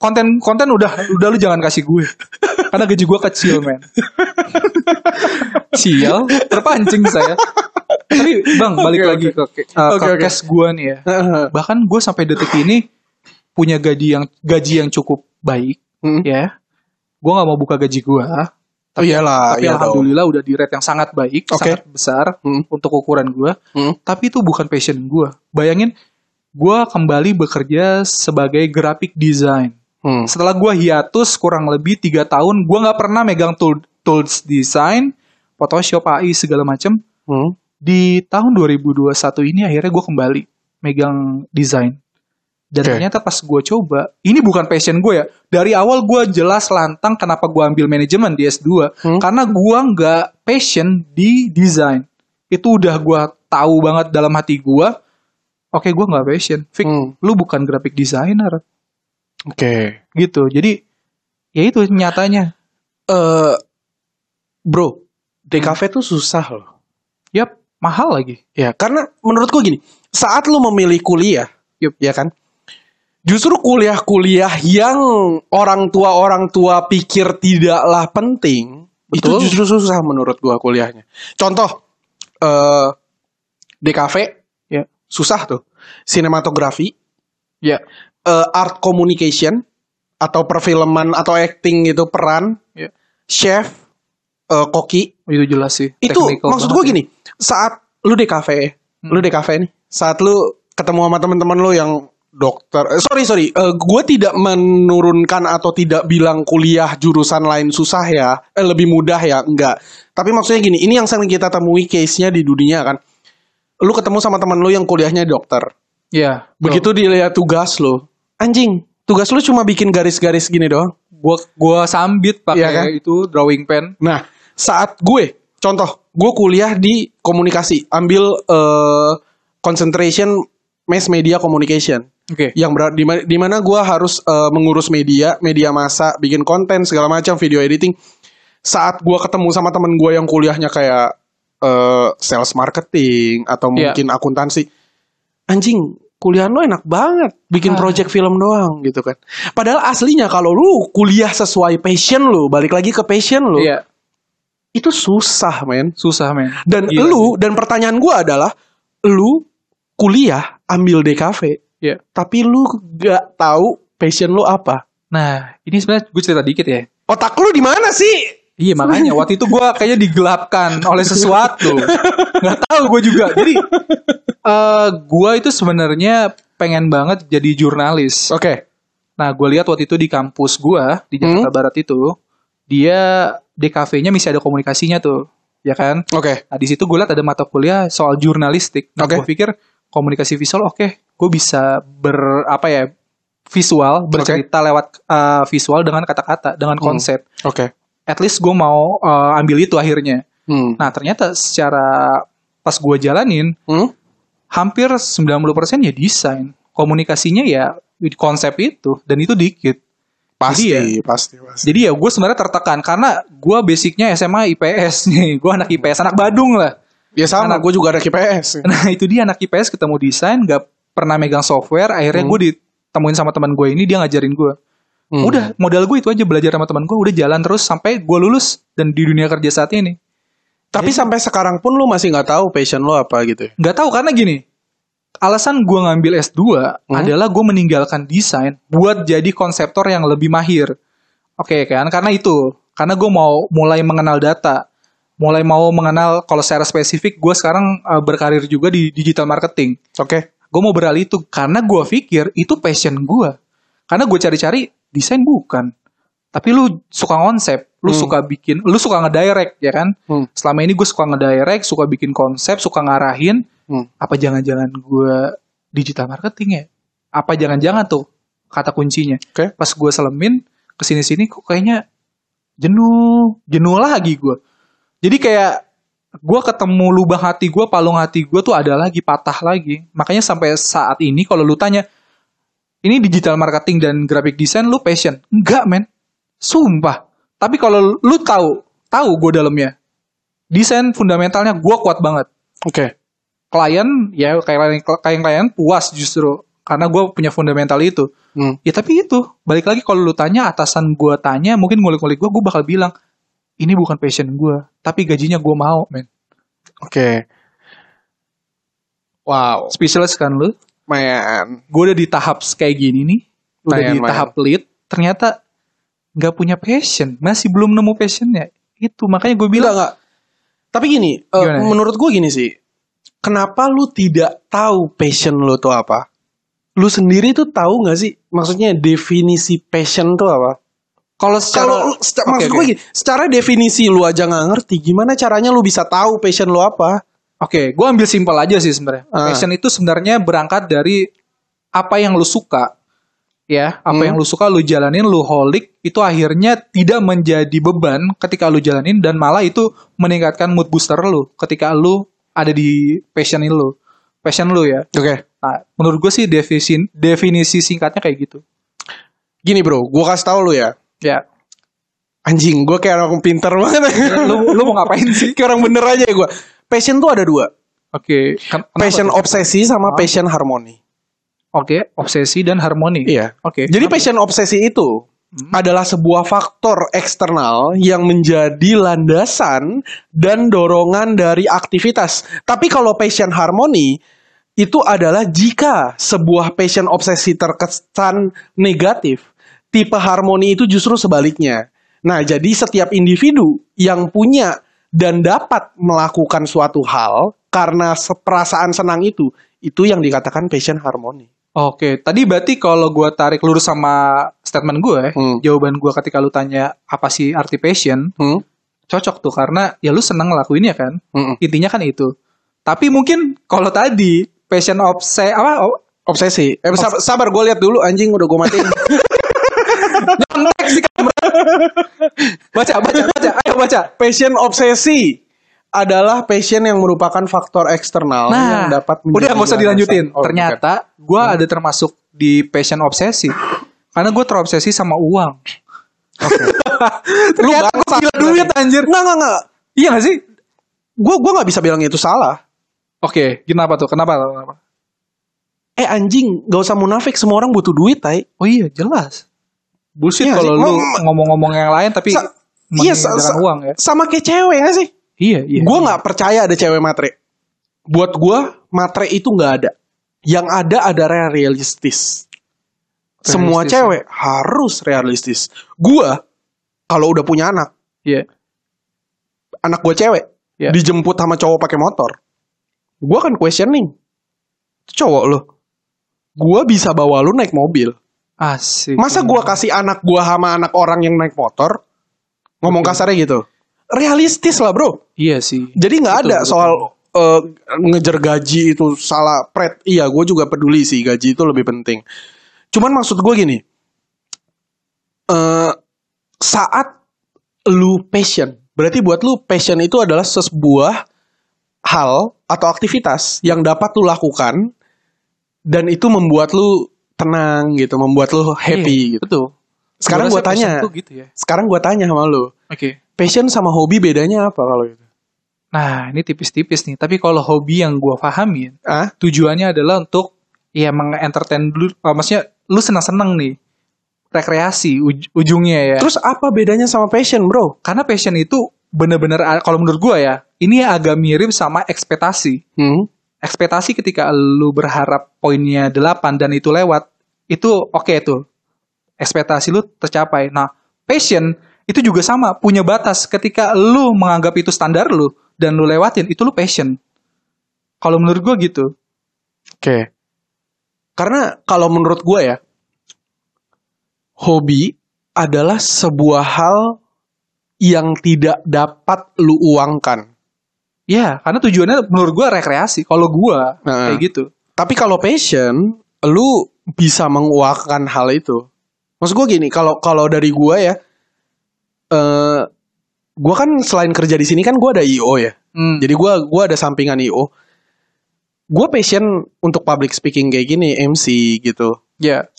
S1: konten-konten udah udah lu jangan kasih gue. Karena gaji gua kecil, men. Sial, terpancing saya. Tapi Bang, balik
S2: Oke,
S1: lagi ke
S2: oke.
S1: uh,
S2: Oke,
S1: ke
S2: oke.
S1: case gua nih ya. bahkan gue sampai detik ini punya gaji yang gaji yang cukup baik
S2: Hmm.
S1: ya gue nggak mau buka gaji gue
S2: Oh iyalah,
S1: tapi
S2: iya dong.
S1: alhamdulillah udah di rate yang sangat baik
S2: Oke.
S1: sangat besar
S2: Hmm.
S1: untuk ukuran gue
S2: Hmm.
S1: tapi itu bukan passion gue bayangin gue kembali bekerja sebagai graphic design
S2: Hmm.
S1: setelah gue hiatus kurang lebih tiga tahun gue nggak pernah megang tool, tools design Photoshop AI segala macem
S2: Hmm.
S1: di tahun 2021 ini akhirnya gue kembali megang desain dan
S2: Oke.
S1: ternyata pas gue coba ini bukan passion gue ya dari awal gue jelas lantang kenapa gue ambil manajemen di S2
S2: Hmm.
S1: karena gue nggak passion di desain itu udah gue tahu banget dalam hati gue oke gue nggak passion Fik,
S2: Hmm.
S1: lu bukan graphic designer
S2: Oke.
S1: gitu jadi ya itu nyatanya
S2: Eh, bro, DKV tuh susah loh.
S1: yap mahal lagi
S2: Ya, karena menurut gua gini, saat lu memilih kuliah,
S1: Yup.
S2: ya kan? Justru kuliah-kuliah yang orang tua orang tua pikir tidaklah penting,
S1: Betul.
S2: itu justru susah menurut gua kuliahnya. Contoh eh DKV
S1: ya
S2: susah tuh. Sinematografi,
S1: ya
S2: eh, art communication atau perfilman atau acting gitu peran,
S1: ya
S2: chef, eh, koki,
S1: itu jelas sih
S2: itu
S1: Technical
S2: maksud
S1: banget
S2: gue
S1: ya. Hmm.
S2: gini saat lu di kafe lu di kafe nih saat lu ketemu sama teman-teman lu yang dokter eh, sorry sorry eh, gue tidak menurunkan atau tidak bilang kuliah jurusan lain susah ya eh, lebih mudah ya enggak tapi maksudnya gini ini yang sering kita temui case nya di dunia kan lu ketemu sama teman lu yang kuliahnya dokter
S1: ya begitu
S2: begitu dilihat tugas lu anjing tugas lu cuma bikin garis-garis gini doang
S1: gua gua sambit pakai
S2: Iya kan?
S1: itu drawing pen
S2: Nah, saat gue, contoh, gue kuliah di komunikasi, ambil eh, concentration mass media communication.
S1: oke
S2: Yang berat di ma- di mana gue harus eh, mengurus media, media massa, bikin konten segala macam, video editing. Saat gue ketemu sama temen gue yang kuliahnya kayak eh, sales marketing atau
S1: Iya.
S2: mungkin akuntansi, anjing kuliah lo enak banget bikin
S1: Ah.
S2: project film doang gitu kan padahal aslinya kalau lu kuliah sesuai passion lu balik lagi ke passion lu
S1: iya
S2: itu susah men
S1: susah men
S2: dan
S1: Gila
S2: lu dan pertanyaan gua adalah lu kuliah ambil DKV
S1: Iya.
S2: tapi lu gak tahu passion lu apa
S1: nah ini sebenarnya gue cerita dikit ya
S2: otak lu di mana sih
S1: Iya makanya waktu itu gue kayaknya digelapkan oleh sesuatu. Nggak tahu gue juga. Jadi eh gue itu sebenarnya pengen banget jadi jurnalis.
S2: Oke.
S1: Nah gue lihat waktu itu di kampus gue di Jakarta
S2: Hmm?
S1: Barat itu dia DKV-nya masih ada komunikasinya tuh, ya kan?
S2: Oke.
S1: Nah di situ gue lihat ada mata kuliah soal jurnalistik. Nah
S2: Oke.
S1: gue pikir komunikasi visual oke, gue bisa ber apa ya visual bercerita lewat eh, visual dengan kata-kata, dengan konsep.
S2: Oke.
S1: At least gue mau eh, ambil itu akhirnya.
S2: Hmm.
S1: Nah ternyata secara pas gue jalanin
S2: Hmm?
S1: hampir 90% ya desain. Komunikasinya ya konsep itu dan itu dikit.
S2: Pasti,
S1: Jadi
S2: pasti, pasti.
S1: Jadi ya gue sebenarnya tertekan karena gue basicnya SMA IPS nih. Gue anak IPS, anak Badung lah.
S2: Ya sama,
S1: Anak-
S2: gue juga ada KPS.
S1: Nah itu dia anak IPS ketemu desain, gak pernah megang software. Akhirnya gue ditemuin sama teman gue ini, dia ngajarin gue.
S2: Hmm.
S1: Udah modal gue itu aja belajar sama teman gue, udah jalan terus sampai gue lulus dan di dunia kerja saat ini.
S2: Tapi sampai sekarang pun lu masih nggak tahu passion lu apa gitu. ya?
S1: Gak tahu karena gini, alasan gue ngambil S2 adalah gue meninggalkan desain buat jadi konseptor yang lebih mahir. Oke kan, karena itu, karena gue mau mulai mengenal data, mulai mau mengenal kalau secara spesifik gue sekarang eh, berkarir juga di digital marketing.
S2: Oke.
S1: Gue mau beralih itu karena gue pikir itu passion gue. Karena gue cari-cari desain bukan, tapi lu suka konsep, lu suka bikin, lu suka ngedirect ya kan.
S2: Hmm.
S1: Selama ini gue suka ngedirect, suka bikin konsep, suka ngarahin
S2: Hmm.
S1: apa jangan-jangan gue digital marketing ya? Apa jangan-jangan tuh kata kuncinya?
S2: Oke.
S1: Pas gue selemin kesini-sini kok kayaknya jenuh, jenuh lagi gue. Jadi kayak gue ketemu lubang hati gue, palung hati gue tuh ada lagi, patah lagi. Makanya sampai saat ini kalau lu tanya, ini digital marketing dan graphic design lu passion? Enggak men, sumpah. Tapi kalau lu tahu, tahu gue dalamnya. Desain fundamentalnya gue kuat banget
S2: Oke.
S1: klien ya kayak kayak klien puas justru karena gue punya fundamental itu
S2: Hmm.
S1: ya tapi itu balik lagi kalau lu tanya atasan gue tanya mungkin ngulik-ngulik gue gue bakal bilang ini bukan passion gue tapi gajinya gue mau men
S2: Oke. Wow,
S1: spesialis kan lu
S2: man.
S1: gue udah di tahap kayak gini nih udah
S2: Mayan,
S1: di
S2: mayan.
S1: tahap lead ternyata nggak punya passion masih belum nemu passionnya itu makanya gue
S2: Gila
S1: bilang
S2: nggak? Tapi gini, eh,
S1: Gimana?
S2: menurut gue gini sih. Kenapa lu tidak tahu passion lu tuh apa? Lu sendiri tuh tahu nggak sih? Maksudnya definisi passion tuh apa?
S1: kalau secara
S2: Kalau lu, seta-
S1: Oke,
S2: maksud
S1: oke.
S2: gue gini, secara definisi lu aja nggak ngerti. Gimana caranya lu bisa tahu passion lu apa?
S1: Oke, gue ambil simpel aja sih sebenarnya.
S2: Ah.
S1: Passion itu sebenarnya berangkat dari apa yang lu suka, ya, apa yang
S2: Hmm.
S1: lu suka lu jalanin, lu holik, itu akhirnya tidak menjadi beban ketika lu jalanin dan malah itu meningkatkan mood booster lu ketika lu ada di passion lu, passion lu ya.
S2: Oke.
S1: Nah, menurut gue sih definisi definisi singkatnya kayak gitu.
S2: Gini bro, gue kasih tahu lu ya.
S1: Ya,
S2: Anjing, gue kayak orang pinter banget.
S1: lu lu mau ngapain sih?
S2: kayak orang bener aja ya gue. Passion tuh ada dua.
S1: Oke, ken- kenapa
S2: Passion
S1: tuh?
S2: obsesi sama passion harmoni.
S1: Oke, obsesi dan harmoni.
S2: Iya.
S1: Oke.
S2: Jadi passion obsesi itu adalah sebuah faktor eksternal yang menjadi landasan dan dorongan dari aktivitas. Tapi kalau passion harmoni itu adalah jika sebuah passion obsesi terkesan negatif, tipe harmoni itu justru sebaliknya. Nah, jadi setiap individu yang punya dan dapat melakukan suatu hal karena se- perasaan senang itu, itu yang dikatakan passion harmoni.
S1: Oke, tadi berarti kalau gua tarik lurus sama statement gue,
S2: Hmm.
S1: jawaban gua ketika lu tanya apa sih arti passion,
S2: Hmm?
S1: cocok tuh karena ya lu seneng ngelakuinnya kan,
S2: Mm-mm.
S1: intinya kan itu. Tapi mungkin kalau tadi passion obse apa oh,
S2: Obsesi. Eh, sab- sabar, gue lihat dulu anjing udah gue matiin. Ah,
S1: baca baca baca, ayo baca.
S2: passion obsesi adalah passion yang merupakan faktor eksternal yang
S1: Nah,
S2: dapat
S1: udah nggak usah
S2: landasan.
S1: dilanjutin.
S2: Oh,
S1: Ternyata gua ada termasuk di passion obsesi, karena gue terobsesi sama uang.
S2: bukan. lu
S1: Ternyata gua
S2: bangsa
S1: gila duit anjir.
S2: Enggak, enggak, enggak.
S1: Iya gak sih?
S2: Gue gua nggak bisa bilang itu salah.
S1: Oke, kenapa tuh? Kenapa? Kenapa?
S2: Eh anjing, gak usah munafik. Semua orang butuh duit, tai.
S1: Oh iya jelas. Bullshit
S2: Iya
S1: kalau
S2: sih.
S1: lu
S2: Mem-
S1: ngomong-ngomong yang lain tapi
S2: Sa-
S1: iya,
S2: sa- sa-
S1: uang ya.
S2: Sama kayak cewek gak sih?
S1: Iya, iya.
S2: Gue nggak percaya ada cewek matre. Buat gue matre itu nggak ada. Yang ada adalah realistis. Semua
S1: Realistis,
S2: cewek harus realistis. Gue kalau udah punya anak,
S1: Iya.
S2: anak gue cewek
S1: Iya.
S2: dijemput sama cowok pakai motor gue akan questioning "Itu cowok lo gue bisa bawa lu naik mobil
S1: Asik.
S2: masa gue kasih anak gue sama anak orang yang naik motor ngomong kasarnya gitu realistis lah bro
S1: Iya sih.
S2: jadi nggak
S1: Betul,
S2: ada
S1: betul.
S2: soal eh, ngejar gaji itu salah pret. Iya, gue juga peduli sih gaji itu lebih penting. Cuman maksud gue gini, eh saat lu passion, berarti buat lu passion itu adalah sebuah hal atau aktivitas yang dapat lu lakukan dan itu membuat lu tenang gitu, membuat lu happy
S1: Iya,
S2: gitu.
S1: Betul.
S2: Sekarang
S1: Gua
S2: gue
S1: rasa passion
S2: tanya,
S1: tuh gitu ya.
S2: sekarang gue tanya sama lu,
S1: Oke.
S2: passion sama hobi bedanya apa kalau gitu?
S1: Nah, ini tipis-tipis nih. Tapi kalau hobi yang gue pahamin,
S2: Ah,
S1: tujuannya adalah untuk ya mengentertain dulu. eh, maksudnya lu senang-senang nih. Rekreasi uj- ujungnya ya.
S2: Terus apa bedanya sama passion, bro?
S1: Karena passion itu bener-bener, a- kalau menurut gue ya, ini agak mirip sama ekspektasi.
S2: Hmm.
S1: Ekspektasi ketika lu berharap poinnya 8 dan itu lewat, itu oke tuh. Ekspektasi lu tercapai. Nah, passion itu juga sama, punya batas. Ketika lu menganggap itu standar lu, dan lu lewatin, itu lu passion. Kalau menurut gue gitu.
S2: Oke. Karena kalau menurut gue ya, hobi adalah sebuah hal yang tidak dapat lu uangkan.
S1: Ya, karena tujuannya menurut gue rekreasi. Kalau gue,
S2: Heeh.
S1: kayak gitu.
S2: Tapi kalau passion, lu bisa menguangkan hal itu. Maksud gue gini, kalau kalau dari gue ya, eh gue kan selain kerja di sini kan gue ada IO ya.
S1: Hmm.
S2: Jadi gua gua ada sampingan IO. Gua passion untuk public speaking kayak gini, MC gitu.
S1: ya.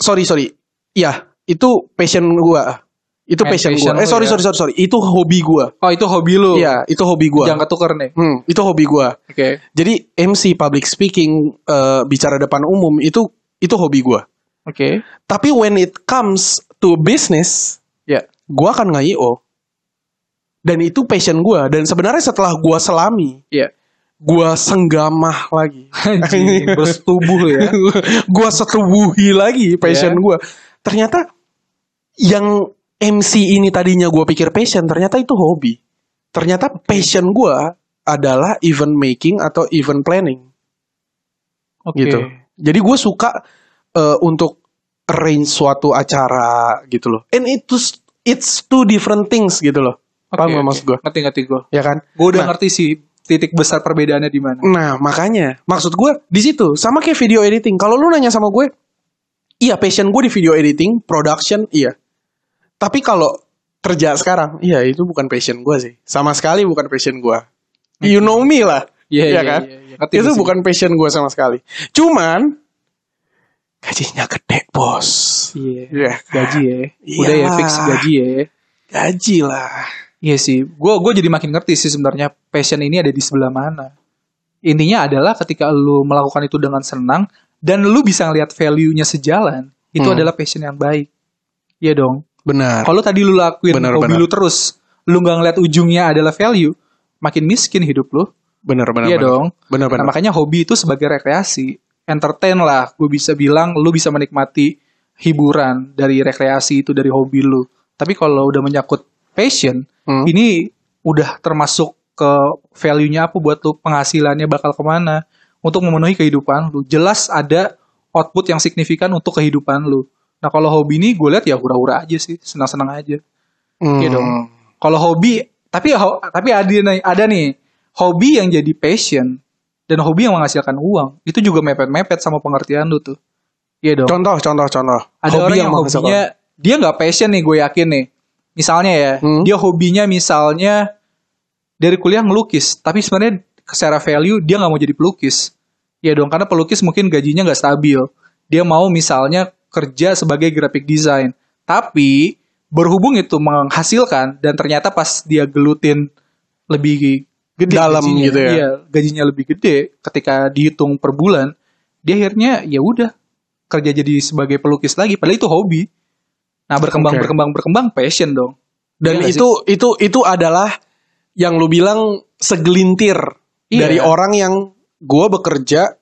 S2: Sorry, sorry. Ya, itu passion gua. Itu
S1: Main
S2: passion
S1: passion
S2: gua.
S1: lu
S2: Eh, sorry,
S1: ya.
S2: sorry, sorry, sorry. Itu hobi gua.
S1: Oh, itu hobi lu.
S2: Iya, itu hobi gua.
S1: Jangan ketuker nih.
S2: Hmm, itu hobi gua.
S1: Oke.
S2: Jadi MC public speaking eh, bicara depan umum itu itu hobi gua.
S1: Oke.
S2: Tapi when it comes to business,
S1: Ya.
S2: gua akan nge-IO. Dan itu passion gua dan sebenarnya setelah gua selami,
S1: Iya.
S2: gua senggamah lagi.
S1: Anjing, bersetubuh ya.
S2: gua setubuhi lagi passion
S1: Ya.
S2: gua. Ternyata yang MC ini tadinya gua pikir passion, ternyata itu hobi. Ternyata passion gua adalah event making atau event planning
S1: Oke.
S2: gitu. Jadi gue suka eh, untuk arrange suatu acara gitu loh. And it's it's two different things gitu loh.
S1: Oke,
S2: Paham gak
S1: oke.
S2: maksud gue?
S1: Ngerti ngerti gue.
S2: Ya kan?
S1: Gue udah
S2: Nah.
S1: ngerti sih titik besar perbedaannya di mana.
S2: Nah makanya maksud gue di situ sama kayak video editing. Kalau lu nanya sama gue, iya passion gue di video editing, production iya. Tapi kalau kerja sekarang, iya itu bukan passion gue sih. Sama sekali bukan passion gue. You know me lah.
S1: Iya, iya,
S2: kan?
S1: iya, iya. Ngerti
S2: Itu
S1: sih.
S2: bukan passion gue sama sekali. Cuman gajinya gede bos.
S1: Iya.
S2: Iya.
S1: Gaji ya. Udah ya
S2: Iyalah.
S1: fix gaji ya.
S2: Gaji lah.
S1: Iya sih. Gue gue jadi makin ngerti sih sebenarnya passion ini ada di sebelah mana. Intinya adalah ketika lu melakukan itu dengan senang dan lu bisa ngelihat value-nya sejalan, itu
S2: Hmm.
S1: adalah passion yang baik. Iya dong.
S2: Benar.
S1: Kalau tadi lu lakuin
S2: Benar,
S1: hobi
S2: benar.
S1: lu terus, lu nggak ngeliat ujungnya adalah value, makin miskin hidup lu.
S2: Benar benar.
S1: Iya
S2: benar.
S1: dong.
S2: Benar benar.
S1: Nah, makanya hobi itu sebagai rekreasi, entertain lah. Gue bisa bilang lu bisa menikmati hiburan dari rekreasi itu dari hobi lu. Tapi kalau udah menyangkut passion,
S2: Hmm.
S1: ini udah termasuk ke value-nya apa buat lu, penghasilannya bakal kemana untuk memenuhi kehidupan lu. Jelas ada output yang signifikan untuk kehidupan lu. Nah kalau hobi ini gue lihat ya hura-hura aja sih, senang-senang aja.
S2: Hmm.
S1: Iya dong. Kalau hobi, tapi ho- tapi ada nih, ada nih hobi yang jadi passion dan hobi yang menghasilkan uang itu juga mepet-mepet sama pengertian lu tuh. Iya dong.
S2: Contoh contoh contoh.
S1: ada orang yang
S2: menghasilkan.
S1: hobinya dia nggak passion nih gue yakin nih. Misalnya ya,
S2: Hmm.
S1: dia hobinya misalnya dari kuliah ngelukis, tapi sebenarnya secara value dia nggak mau jadi pelukis. Iya dong, karena pelukis mungkin gajinya nggak stabil. Dia mau misalnya kerja sebagai graphic design, tapi berhubung itu menghasilkan dan ternyata pas dia gelutin lebih gede
S2: Dalam gitu ya.
S1: Iya, gajinya lebih gede ketika dihitung per bulan, dia akhirnya ya udah kerja jadi sebagai pelukis lagi padahal itu hobi. Nah, berkembang
S2: Oke.
S1: berkembang berkembang passion dong. Iya
S2: Dan
S1: nggak
S2: itu itu itu adalah yang lu bilang segelintir
S1: Iya.
S2: dari orang yang gua bekerja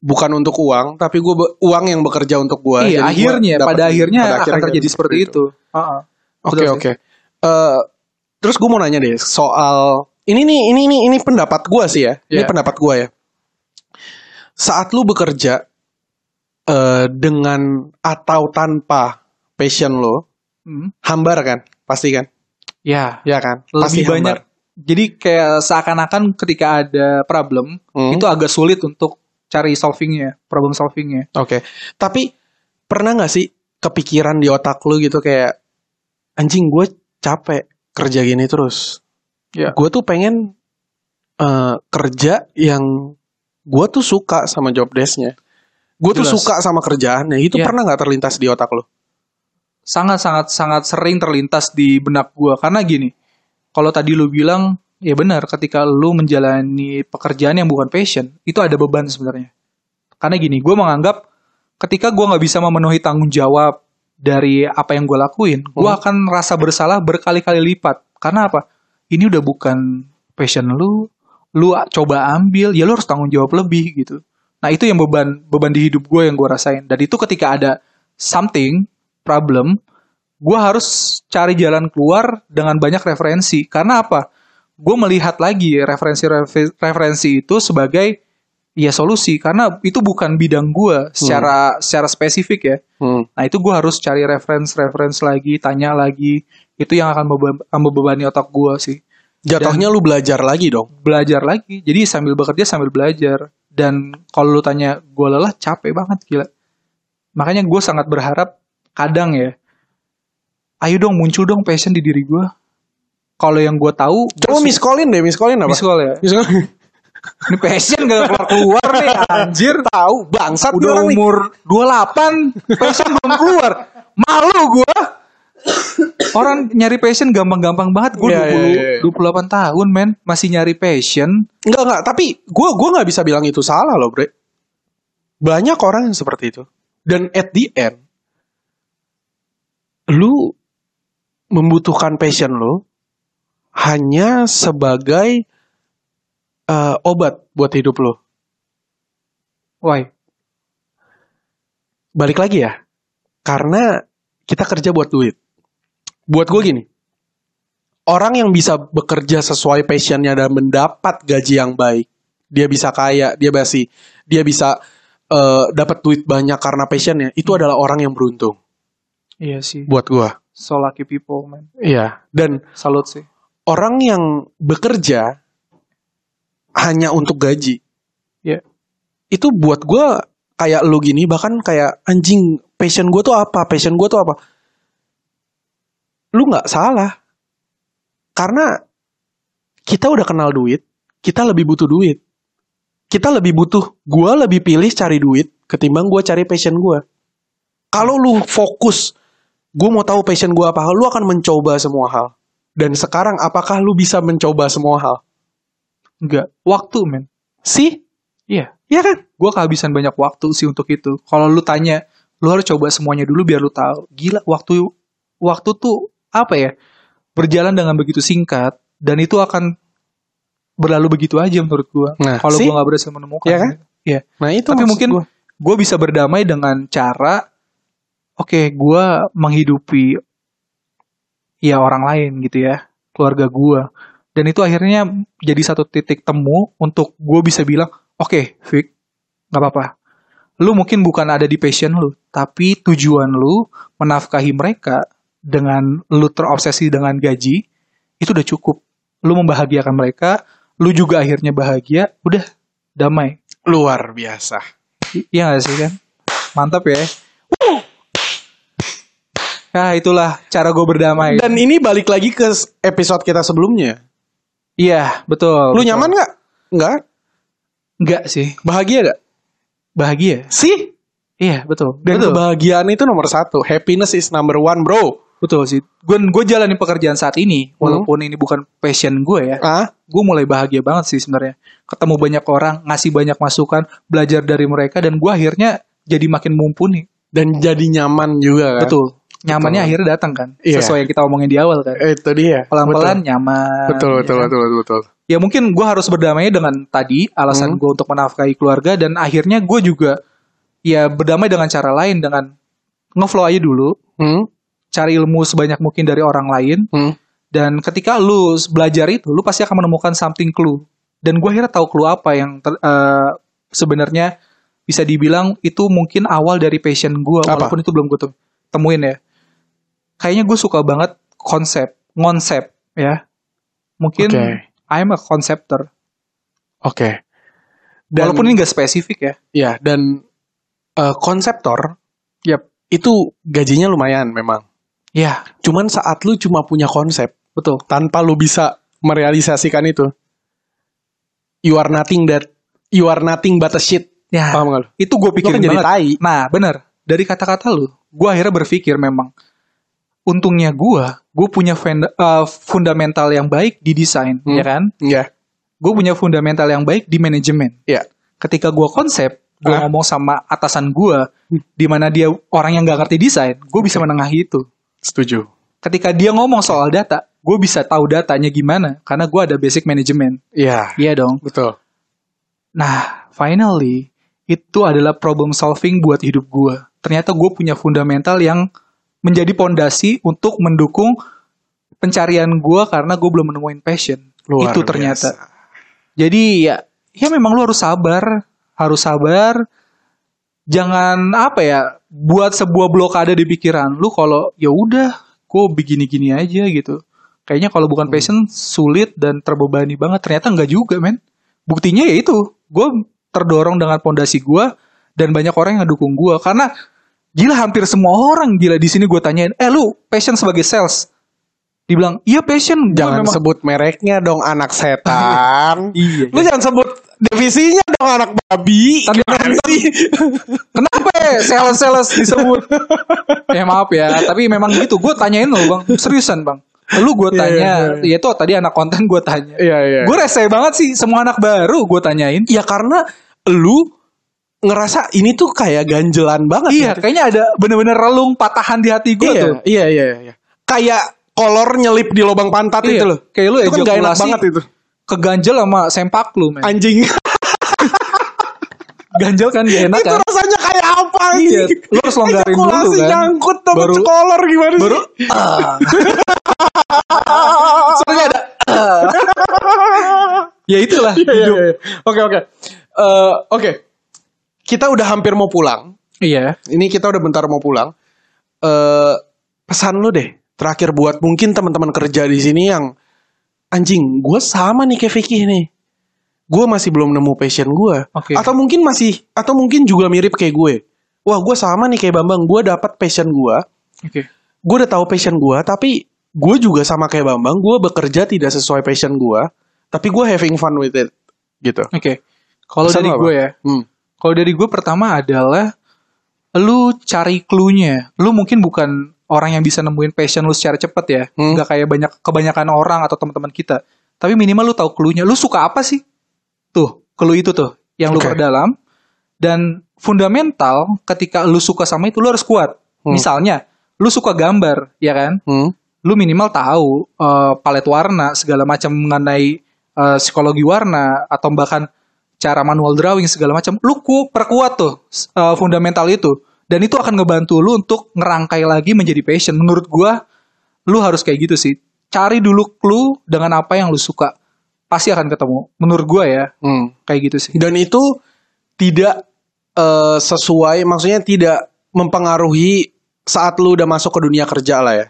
S2: bukan untuk uang, tapi gue uang yang bekerja untuk gua.
S1: iya,
S2: Jadi gua
S1: akhirnya
S2: dapat-
S1: pada akhirnya akan
S2: akhirnya
S1: terjadi
S2: kayak
S1: seperti itu. Heeh.
S2: gitu, Oke
S1: Betul sih.
S2: oke. Eh, Terus gue mau nanya deh soal ini nih ini ini ini pendapat gue sih ya. Ini
S1: Iya.
S2: pendapat gue ya. Saat lu bekerja eh, dengan atau tanpa passion lo,
S1: Hmm.
S2: hambar kan? Pasti kan?
S1: Ya,
S2: Ya kan? Pasti
S1: lebih banyak.
S2: hambar.
S1: Jadi kayak seakan-akan ketika ada problem
S2: Hmm.
S1: itu agak sulit untuk cari solvingnya, problem solvingnya.
S2: Oke, tapi pernah nggak sih kepikiran di otak lu gitu kayak anjing gue capek kerja gini terus.
S1: Ya.
S2: Gue tuh pengen eh, kerja yang gue tuh suka sama job desk-nya. Gue tuh
S1: Jelas.
S2: suka sama kerjaannya. Itu
S1: Ya.
S2: pernah nggak terlintas di otak lu?
S1: Sangat sangat sangat sering terlintas di benak gua karena gini. Kalau tadi lu bilang ya benar ketika lu menjalani pekerjaan yang bukan passion, itu ada beban sebenarnya. Karena gini, gua menganggap ketika gua nggak bisa memenuhi tanggung jawab dari apa yang gua lakuin, gua akan rasa bersalah berkali-kali lipat. Karena apa? Ini udah bukan passion lu, lu a- coba ambil, ya lu harus tanggung jawab lebih gitu. Nah itu yang beban beban di hidup gue yang gue rasain. Dan itu ketika ada something problem, gue harus cari jalan keluar dengan banyak referensi. Karena apa? Gue melihat lagi referensi-referensi referensi itu sebagai ya solusi. Karena itu bukan bidang gue secara secara spesifik ya. Nah itu gue harus cari reference-reference lagi, tanya lagi. Itu yang akan mebe- membebani otak gue sih.
S2: Jatuhnya lu belajar lagi dong.
S1: Belajar lagi. Jadi sambil bekerja sambil belajar. Dan kalau lu tanya gue lelah capek banget gila. Makanya gue sangat berharap kadang ya. Ayo dong muncul dong passion di diri gue. Kalau yang gue tahu, gua
S2: Coba
S1: su-
S2: miss callin deh, miss callin apa?
S1: miss call ya.
S2: Miss call-
S1: Ini passion gak keluar keluar nih anjir.
S2: Tahu bangsat nih
S1: Udah
S2: orang nih.
S1: umur 28 Passion belum keluar Malu gua Orang nyari passion gampang-gampang banget Gue
S2: Iya, iya, iya.
S1: 28 tahun men Masih nyari passion
S2: Enggak enggak, tapi gue gua nggak bisa bilang itu salah loh, Bre. Banyak orang yang seperti itu. Dan at the end lu membutuhkan passion lu hanya sebagai eh, obat buat hidup lu.
S1: Why?
S2: Balik lagi ya. Karena kita kerja buat duit. Buat gue gini. Orang yang bisa bekerja sesuai passionnya dan mendapat gaji yang baik, dia bisa kaya, dia basi, dia bisa eh, dapat duit banyak karena passionnya. Itu adalah orang yang beruntung.
S1: Iya sih
S2: Buat gue.
S1: So lucky people man
S2: Iya. Dan
S1: Salut sih
S2: orang yang bekerja hanya untuk gaji.
S1: Iya.
S2: Itu buat gue kayak lu gini bahkan kayak anjing passion gue tuh apa passion gue tuh apa lu nggak salah karena kita udah kenal duit kita lebih butuh duit kita lebih butuh gue lebih pilih cari duit ketimbang gue cari passion gue kalau lu fokus gue mau tahu passion gue apa lu akan mencoba semua hal dan sekarang apakah lu bisa mencoba semua hal?
S1: Enggak Waktu men
S2: Sih?
S1: Iya
S2: Iya kan?
S1: Gue kehabisan banyak waktu sih untuk itu Kalau lu tanya Lu harus coba semuanya dulu biar lu tahu Gila waktu Waktu tuh Apa ya Berjalan dengan begitu singkat Dan itu akan Berlalu begitu aja menurut gue
S2: Nah,
S1: kalau
S2: sih?
S1: gue nggak berhasil menemukan
S2: Iya kan?
S1: Iya.
S2: Nah, itu
S1: tapi
S2: maksud
S1: mungkin
S2: gua.
S1: gue bisa berdamai dengan cara oke gue menghidupi ya orang lain gitu ya keluarga gue dan itu akhirnya jadi satu titik temu untuk gue bisa bilang oke Vic nggak apa-apa lu mungkin bukan ada di passion lu tapi tujuan lu menafkahi mereka dengan lu terobsesi dengan gaji itu udah cukup lu membahagiakan mereka lu juga akhirnya bahagia udah damai
S2: luar biasa.
S1: I- Iya gak sih kan? Mantap ya. Wuh. Nah itulah cara gue berdamai.
S2: Dan ini balik lagi ke s- episode kita sebelumnya.
S1: Iya betul.
S2: Lu
S1: betul.
S2: nyaman nggak? Nggak?
S1: Enggak sih.
S2: Bahagia nggak?
S1: Bahagia.
S2: Sih?
S1: Iya betul.
S2: Dan
S1: betul.
S2: kebahagiaan itu nomor satu. Happiness is number one, bro.
S1: Betul sih. Gue gue jalanin pekerjaan saat
S2: Hmm.
S1: ini, walaupun ini bukan passion gue ya.
S2: Ah?
S1: Gue mulai bahagia banget sih sebenarnya. Ketemu banyak orang, ngasih banyak masukan, belajar dari mereka, dan gue akhirnya jadi makin mumpuni.
S2: Dan jadi nyaman juga kan?
S1: Betul. Nyamannya akhirnya datang kan,
S2: Iya.
S1: sesuai yang kita omongin di awal kan.
S2: Itu dia.
S1: Pelan-pelan nyaman.
S2: Betul,
S1: ya
S2: betul,
S1: kan?
S2: betul, betul, betul.
S1: ya mungkin gue harus berdamai dengan tadi
S2: Hmm.
S1: alasan gue untuk menafkahi keluarga dan akhirnya gue juga ya berdamai dengan cara lain dengan ngeflow aja dulu
S2: Hmm?
S1: cari ilmu sebanyak mungkin dari orang lain
S2: Hmm?
S1: Dan ketika lu belajar itu, lu pasti akan menemukan something clue. Dan gue akhirnya tahu clue apa yang ter- eh, sebenarnya bisa dibilang itu mungkin awal dari passion gue,
S2: Apa?
S1: walaupun itu belum gue temuin ya. Kayaknya gue suka banget konsep, ngonsep ya. Mungkin
S2: Oke.
S1: I'm a conceptor.
S2: Oke. Dan-
S1: Walaupun ini gak spesifik ya.
S2: Ya, dan eh, konseptor
S1: Yap.
S2: itu gajinya lumayan memang.
S1: Ya,
S2: Cuman saat lu cuma punya konsep, betul, tanpa lu bisa merealisasikan itu, you are nothing that you are nothing but a shit.
S1: ya.
S2: Paham gak Ah. lu?
S1: itu gue
S2: Lu
S1: pikirin
S2: kan jadi
S1: banget.
S2: tai.
S1: Nah, bener. Dari kata-kata lu, gue akhirnya berpikir memang untungnya gue, gue punya fenda- eh, fundamental yang baik di desain,
S2: Hmm.
S1: ya kan?
S2: Iya.
S1: Gue punya fundamental yang baik di manajemen.
S2: Iya.
S1: Ketika gue konsep, gue
S2: Ah. Hmm.
S1: ngomong sama atasan gue, di mana dia orang yang gak ngerti desain, gue bisa
S2: Ya.
S1: menengahi itu.
S2: Setuju.
S1: Ketika dia ngomong soal data, gue bisa tahu datanya gimana, karena gue ada basic manajemen.
S2: Iya.
S1: Iya dong.
S2: Betul.
S1: Nah, finally itu adalah problem solving buat hidup gue. Ternyata gue punya fundamental yang menjadi pondasi untuk mendukung pencarian gue karena gue belum menemuin passion.
S2: Luar
S1: itu ternyata. Jadi ya, ya memang lu harus sabar, harus sabar. Jangan apa ya, buat sebuah blokade di pikiran lu kalau ya udah, gue begini-gini aja gitu. Kayaknya kalau bukan passion sulit dan terbebani banget. Ternyata enggak juga, men. Buktinya ya itu, gue terdorong dengan pondasi gue dan banyak orang yang dukung gue karena gila hampir semua orang gila di sini gue tanyain, eh lu passion sebagai sales, dibilang iya passion, gua
S2: Jangan
S1: memang-
S2: sebut mereknya dong anak setan.
S1: Iya,
S2: Lu jangan sebut divisinya dong anak babi.
S1: Tadi
S2: Gimana sih?
S1: Kenapa ya sales-sales disebut? ya maaf ya, tapi memang gitu. Gue tanyain lo bang, seriusan bang. Lu gue
S2: Iya, iya,
S1: tanya, ya
S2: iya.
S1: itu tadi anak konten gue tanya.
S2: Iya, iya.
S1: Gue rese banget sih, semua anak baru gue tanyain.
S2: Ya karena lu ngerasa ini tuh kayak ganjelan banget.
S1: Iya,
S2: gitu.
S1: kayaknya ada bener-bener relung patahan di hati gue
S2: iya,
S1: tuh.
S2: iya, iya, iya. Kayak kolor nyelip di lubang pantat
S1: Iya,
S2: itu loh.
S1: kayak lu
S2: itu kan gak enak
S1: ejakulasi.
S2: banget itu.
S1: Keganjel sama sempak lu, men.
S2: Anjing.
S1: Ganjel kan gak enak
S2: itu
S1: kan?
S2: rasanya kayak apa anjing?
S1: Iya, lu harus longgarin dulu,
S2: Ejakulasi
S1: kan.
S2: nyangkut sama
S1: Baru-
S2: kolor gimana sih?
S1: Baru, ah. Soalnya ada, ah. ya itulah
S2: Iya, iya,
S1: hidup.
S2: iya. Oke, oke. Eh, oke. Kita udah hampir mau pulang.
S1: Iya.
S2: Ini kita udah bentar mau pulang. Eh pesan lu deh terakhir buat mungkin teman-teman kerja di sini yang anjing, gue sama nih kayak Vicky nih. Gue masih belum nemu passion gue.
S1: Oke.
S2: Atau mungkin masih atau mungkin juga mirip kayak gue. Wah, gue sama nih kayak Bambang. Gue dapat passion gue.
S1: Oke.
S2: Gue udah tahu passion gue, tapi gue juga sama kayak Bambang. Gue bekerja tidak sesuai passion gue, tapi gue having fun with it gitu.
S1: Oke. Kalau
S2: Pesan
S1: dari
S2: lu apa?
S1: gue ya,
S2: Hmm.
S1: kalau dari gue pertama adalah lu cari clue-nya. Lu mungkin bukan orang yang bisa nemuin passion lu secara cepat ya.
S2: Hmm.
S1: Nggak kayak banyak kebanyakan orang atau teman-teman kita. Tapi minimal lu tahu clue-nya. Lu suka apa sih? Tuh, clue itu tuh yang lu
S2: Oke.
S1: perdalam. Dan fundamental ketika lu suka sama itu lu harus kuat.
S2: Hmm.
S1: Misalnya, lu suka gambar, ya kan?
S2: Hmm.
S1: lu minimal tahu eh, palet warna segala macam mengenai eh, psikologi warna atau bahkan cara manual drawing segala macam lu ku perkuat tuh s- eh, fundamental itu dan itu akan ngebantu lu untuk ngerangkai lagi menjadi passion menurut gua lu harus kayak gitu sih cari dulu clue dengan apa yang lu suka pasti akan ketemu menurut gua ya
S2: Hmm.
S1: kayak gitu sih
S2: Dan itu tidak eh, sesuai, maksudnya tidak mempengaruhi saat lu udah masuk ke dunia kerja lah ya.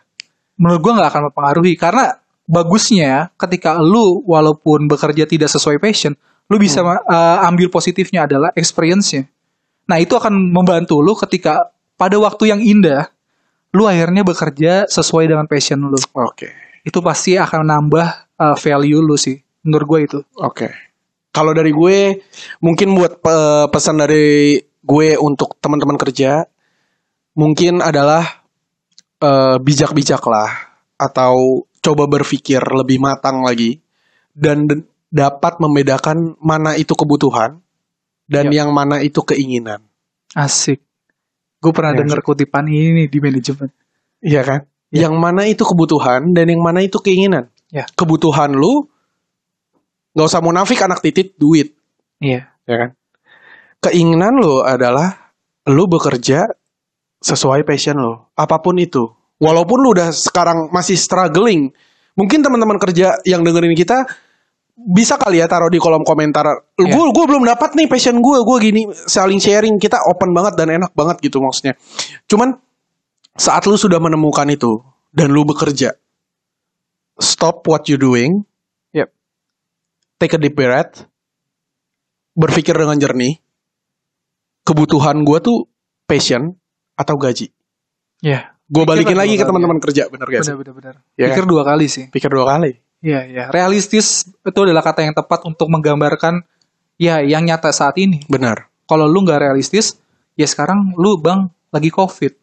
S1: menurut gua nggak akan mempengaruhi karena bagusnya ketika lu walaupun bekerja tidak sesuai passion lu bisa uh, ambil positifnya adalah experience-nya nah itu akan membantu lu ketika pada waktu yang indah lu akhirnya bekerja sesuai dengan passion lu
S2: Oke,
S1: itu pasti akan nambah uh, value lu sih menurut gua itu
S2: oke. Kalau dari gue, mungkin buat pe- pesan dari gue untuk teman-teman kerja, mungkin adalah eh, bijak-bijaklah atau coba berpikir lebih matang lagi dan d- dapat membedakan mana itu kebutuhan dan
S1: Yap.
S2: yang mana itu keinginan.
S1: asik gue pernah
S2: Iya,
S1: denger kutipan ini nih di manajemen
S2: Iya kan?
S1: Iya.
S2: Yang mana itu kebutuhan dan yang mana itu keinginan.
S1: Iya.
S2: Kebutuhan lu nggak usah munafik anak titit duit,
S1: iya
S2: ya kan? Keinginan lu adalah lu bekerja sesuai passion lu, apapun itu. Walaupun lu udah sekarang masih struggling, Mungkin teman-teman kerja yang dengerin kita bisa kali ya taruh di kolom komentar. Gue
S1: Iya.
S2: gue belum dapat nih passion gue, gue gini saling sharing kita open banget dan enak banget gitu maksudnya. Cuman saat lu sudah menemukan itu dan lu bekerja, stop what you doing,
S1: Yep.
S2: take a deep breath, berpikir dengan jernih. Kebutuhan gue tuh passion atau gaji.
S1: Iya.
S2: Gue balikin
S1: dua
S2: lagi ke
S1: kali
S2: teman-teman kerja, bener gak sih?
S1: Benar-benar.
S2: Iya
S1: Pikir dua kali sih.
S2: Pikir dua kali.
S1: Iya, iya. Realistis itu adalah kata yang tepat untuk menggambarkan ya yang nyata saat ini.
S2: Benar.
S1: Kalau lu nggak realistis, ya sekarang lu bang lagi covid,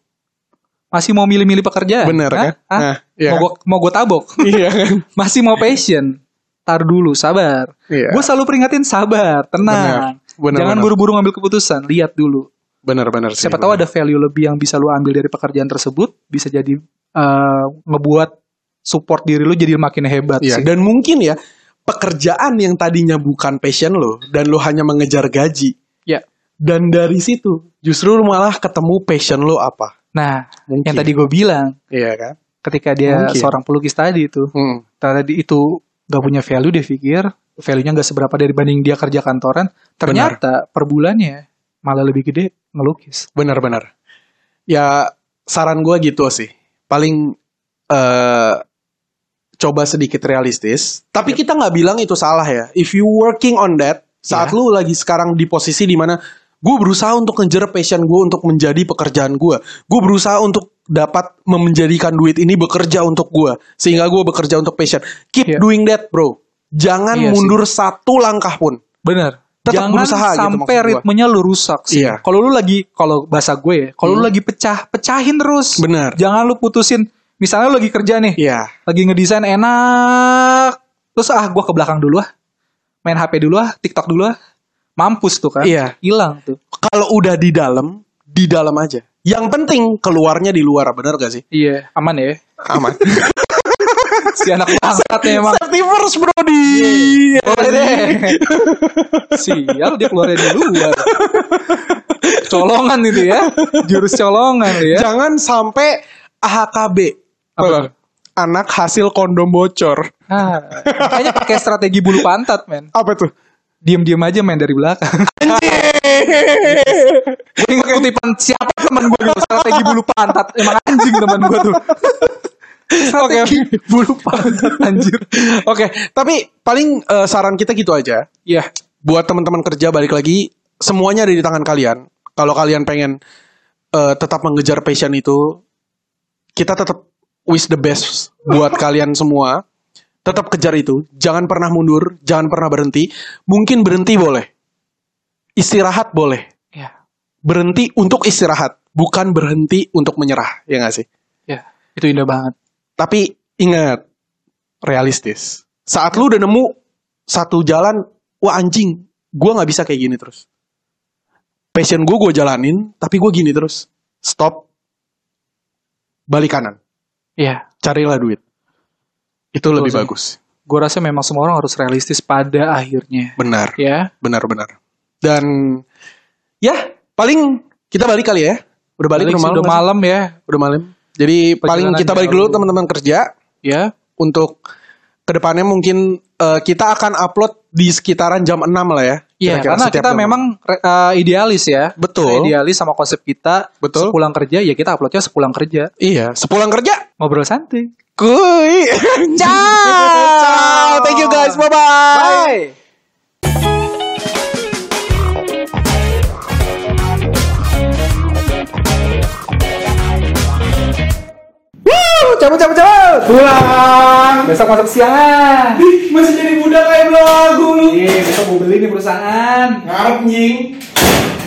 S1: masih mau milih-milih pekerjaan?
S2: Benar
S1: Eh, Hah?
S2: kan?
S1: Hah?
S2: Nah, iya
S1: Mau
S2: kan?
S1: gua mau gua tabok?
S2: Iya kan?
S1: masih mau passion? Tar dulu, sabar.
S2: Iya.
S1: Gue selalu peringatin sabar, tenang.
S2: Benar, benar,
S1: Jangan
S2: benar.
S1: buru-buru ngambil keputusan, lihat dulu.
S2: Benar-benar sih.
S1: Siapa tahu ada value lebih yang bisa lu ambil dari pekerjaan tersebut, bisa jadi eh, ngebuat support diri lu jadi makin hebat
S2: Iya,
S1: sih.
S2: dan mungkin ya pekerjaan yang tadinya bukan passion lo dan lo hanya mengejar gaji
S1: Ya.
S2: dan dari situ justru lo malah ketemu passion lo apa?
S1: Nah,
S2: Mungkin.
S1: yang tadi gue bilang
S2: Iya kan?
S1: ketika dia
S2: Mungkin.
S1: seorang pelukis tadi itu,
S2: Hmm.
S1: tadi itu gak punya value dia pikir, value-nya gak seberapa dari banding dia kerja kantoran, ternyata per bulannya malah lebih gede ngelukis.
S2: Benar-benar. Ya saran gue gitu sih. Paling eh coba sedikit realistis. Tapi kita nggak bilang itu salah ya. If you working on that saat
S1: Ya.
S2: lu lagi sekarang di posisi dimana gue berusaha untuk ngejar passion gue untuk menjadi pekerjaan gue. Gue berusaha untuk dapat menjadikan duit ini bekerja untuk gue sehingga gue bekerja untuk passion. Keep
S1: Ya.
S2: doing that, bro. Jangan
S1: Iya sih.
S2: mundur satu langkah pun.
S1: Bener.
S2: Tetap
S1: Jangan
S2: berusaha gitu
S1: sampai
S2: maksud gua.
S1: ritmenya lu rusak sih.
S2: Iya.
S1: Kalau lu lagi kalau bahasa gue ya, kalau lu lagi pecah, pecahin terus.
S2: Benar.
S1: Jangan lu putusin. Misalnya lu lagi kerja nih,
S2: Iya.
S1: lagi ngedesain enak. Terus ah gua ke belakang dulu ah. Main HP dulu ah, TikTok dulu ah. Mampus tuh kan.
S2: Iya.
S1: Hilang tuh.
S2: kalau udah di dalam, di dalam aja. Yang penting keluarnya di luar, bener gak sih?
S1: Iya, aman ya.
S2: Aman.
S1: Si anak bangsat nih emang.
S2: Safety first bro di. Iya.
S1: Boleh deh. Sial dia keluarnya di luar. colongan itu ya. Jurus colongan dia.
S2: Jangan sampai AHKB.
S1: Apa
S2: Iya. Apa?
S1: tuh?
S2: Anak hasil kondom bocor.
S1: Ah, makanya pakai strategi bulu pantat, men.
S2: Apa tuh?
S1: Diam-diam aja main dari belakang. Gue ingat kutipan siapa teman gue dulu strategi bulu pantat. Emang anjing teman gue tuh. Strategi bulu pantat anjir.
S2: Oke, tapi paling eh, saran kita gitu aja.
S1: Iya.
S2: buat teman-teman kerja balik lagi semuanya ada di tangan kalian. Kalau kalian pengen eh, tetap mengejar passion itu, kita tetap wish the best buat kalian semua. Tetap kejar itu, jangan pernah mundur, jangan pernah berhenti. Mungkin berhenti boleh, istirahat boleh,
S1: Iya.
S2: berhenti untuk istirahat, bukan berhenti untuk menyerah, ya nggak sih?
S1: Iya. Itu indah banget.
S2: Tapi ingat, realistis. Saat lu udah nemu satu jalan, wah anjing, gua nggak bisa kayak gini terus. Passion gue gue jalanin, tapi gue gini terus. Stop. Balik kanan.
S1: Iya.
S2: Carilah duit. Itu
S1: Betul
S2: lebih
S1: sih.
S2: bagus.
S1: Gue rasa memang semua orang harus realistis pada akhirnya.
S2: Benar,
S1: Ya.
S2: benar, benar. Dan ya paling kita balik kali ya. Udah
S1: Balik
S2: balik,
S1: sih,
S2: udah malam.
S1: udah
S2: nggak sih?
S1: malam ya.
S2: Udah malam. Jadi paling
S1: Perjalanan
S2: kita balik dulu
S1: jauh.
S2: teman-teman kerja.
S1: Ya.
S2: untuk kedepannya mungkin eh, kita akan upload di sekitaran jam 6 lah ya.
S1: Iya,
S2: Kira-kira
S1: karena
S2: setiap
S1: kita
S2: jam
S1: memang re- uh, idealis ya. Kita
S2: Betul.
S1: idealis sama konsep kita.
S2: Betul.
S1: Sepulang kerja, ya kita uploadnya sepulang kerja.
S2: 6. Iya, sepulang kerja.
S1: Ngobrol santai.
S2: Kuy. Ciao.
S1: Ciao.
S2: Thank you guys. Bye-bye.
S1: Bye. Wuh, cabut cabut cabut. Pulang. Besok masuk siangan.
S3: Masih jadi budak kayak belagu lu.
S1: Iya, besok gue beli nih perusahaan.
S3: Ngarep nying.